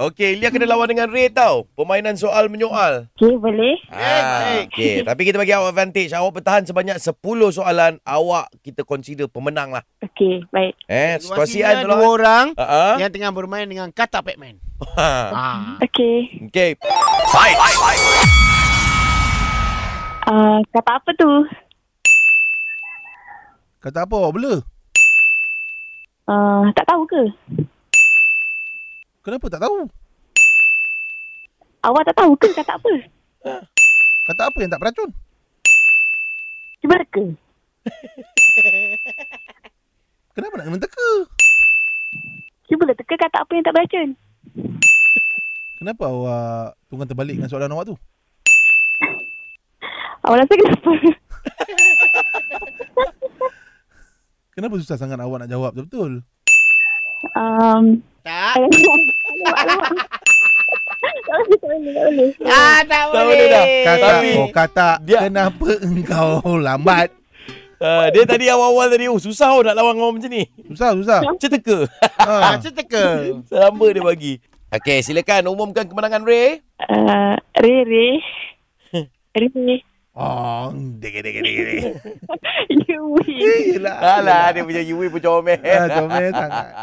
Okey, Lia kena lawan dengan Ray tau. Permainan soal menyoal. Okey, boleh. Ah, Okey, tapi kita bagi awak advantage. Awak bertahan sebanyak 10 soalan. Awak kita consider pemenang lah. Okey, baik. Eh, situasi Situasinya kan lah dua kalau... orang Uh-huh. yang tengah bermain dengan kata Pac-Man. Ah. Okey. Okey. Uh, kata apa tu? Kata apa awak blur? Uh, tak tahu ke? Kenapa tak tahu? Awak tak tahu ke kata apa? Kata apa yang tak beracun? Ciberaka. Kenapa nak kena teka? Cuba lah teka kata apa yang tak beracun. Kenapa awak tunggang terbalik dengan soalan awak tu? Awak rasa kenapa? Kenapa susah sangat awak nak jawab betul-betul? Um, Tak. alamak, alamak, alamak. tak boleh, tak boleh, tak boleh. Ah, tak Tak boleh. boleh dah. Kata, Eh, Tapi- oh kata, Dia- kenapa engkau lambat? Uh, dia tadi awal-awal tadi, oh, susah oh, nak lawan orang macam ni. Susah, susah. Macam teka. Ah, Ha. teka. Selamba dia bagi. Okey, silakan umumkan kemenangan Ray. Uh, re, re. Re. Oh, dege dege dege. dege. You win. Yelah. Alah, dia punya Yui pun comel. Ah, comel sangat.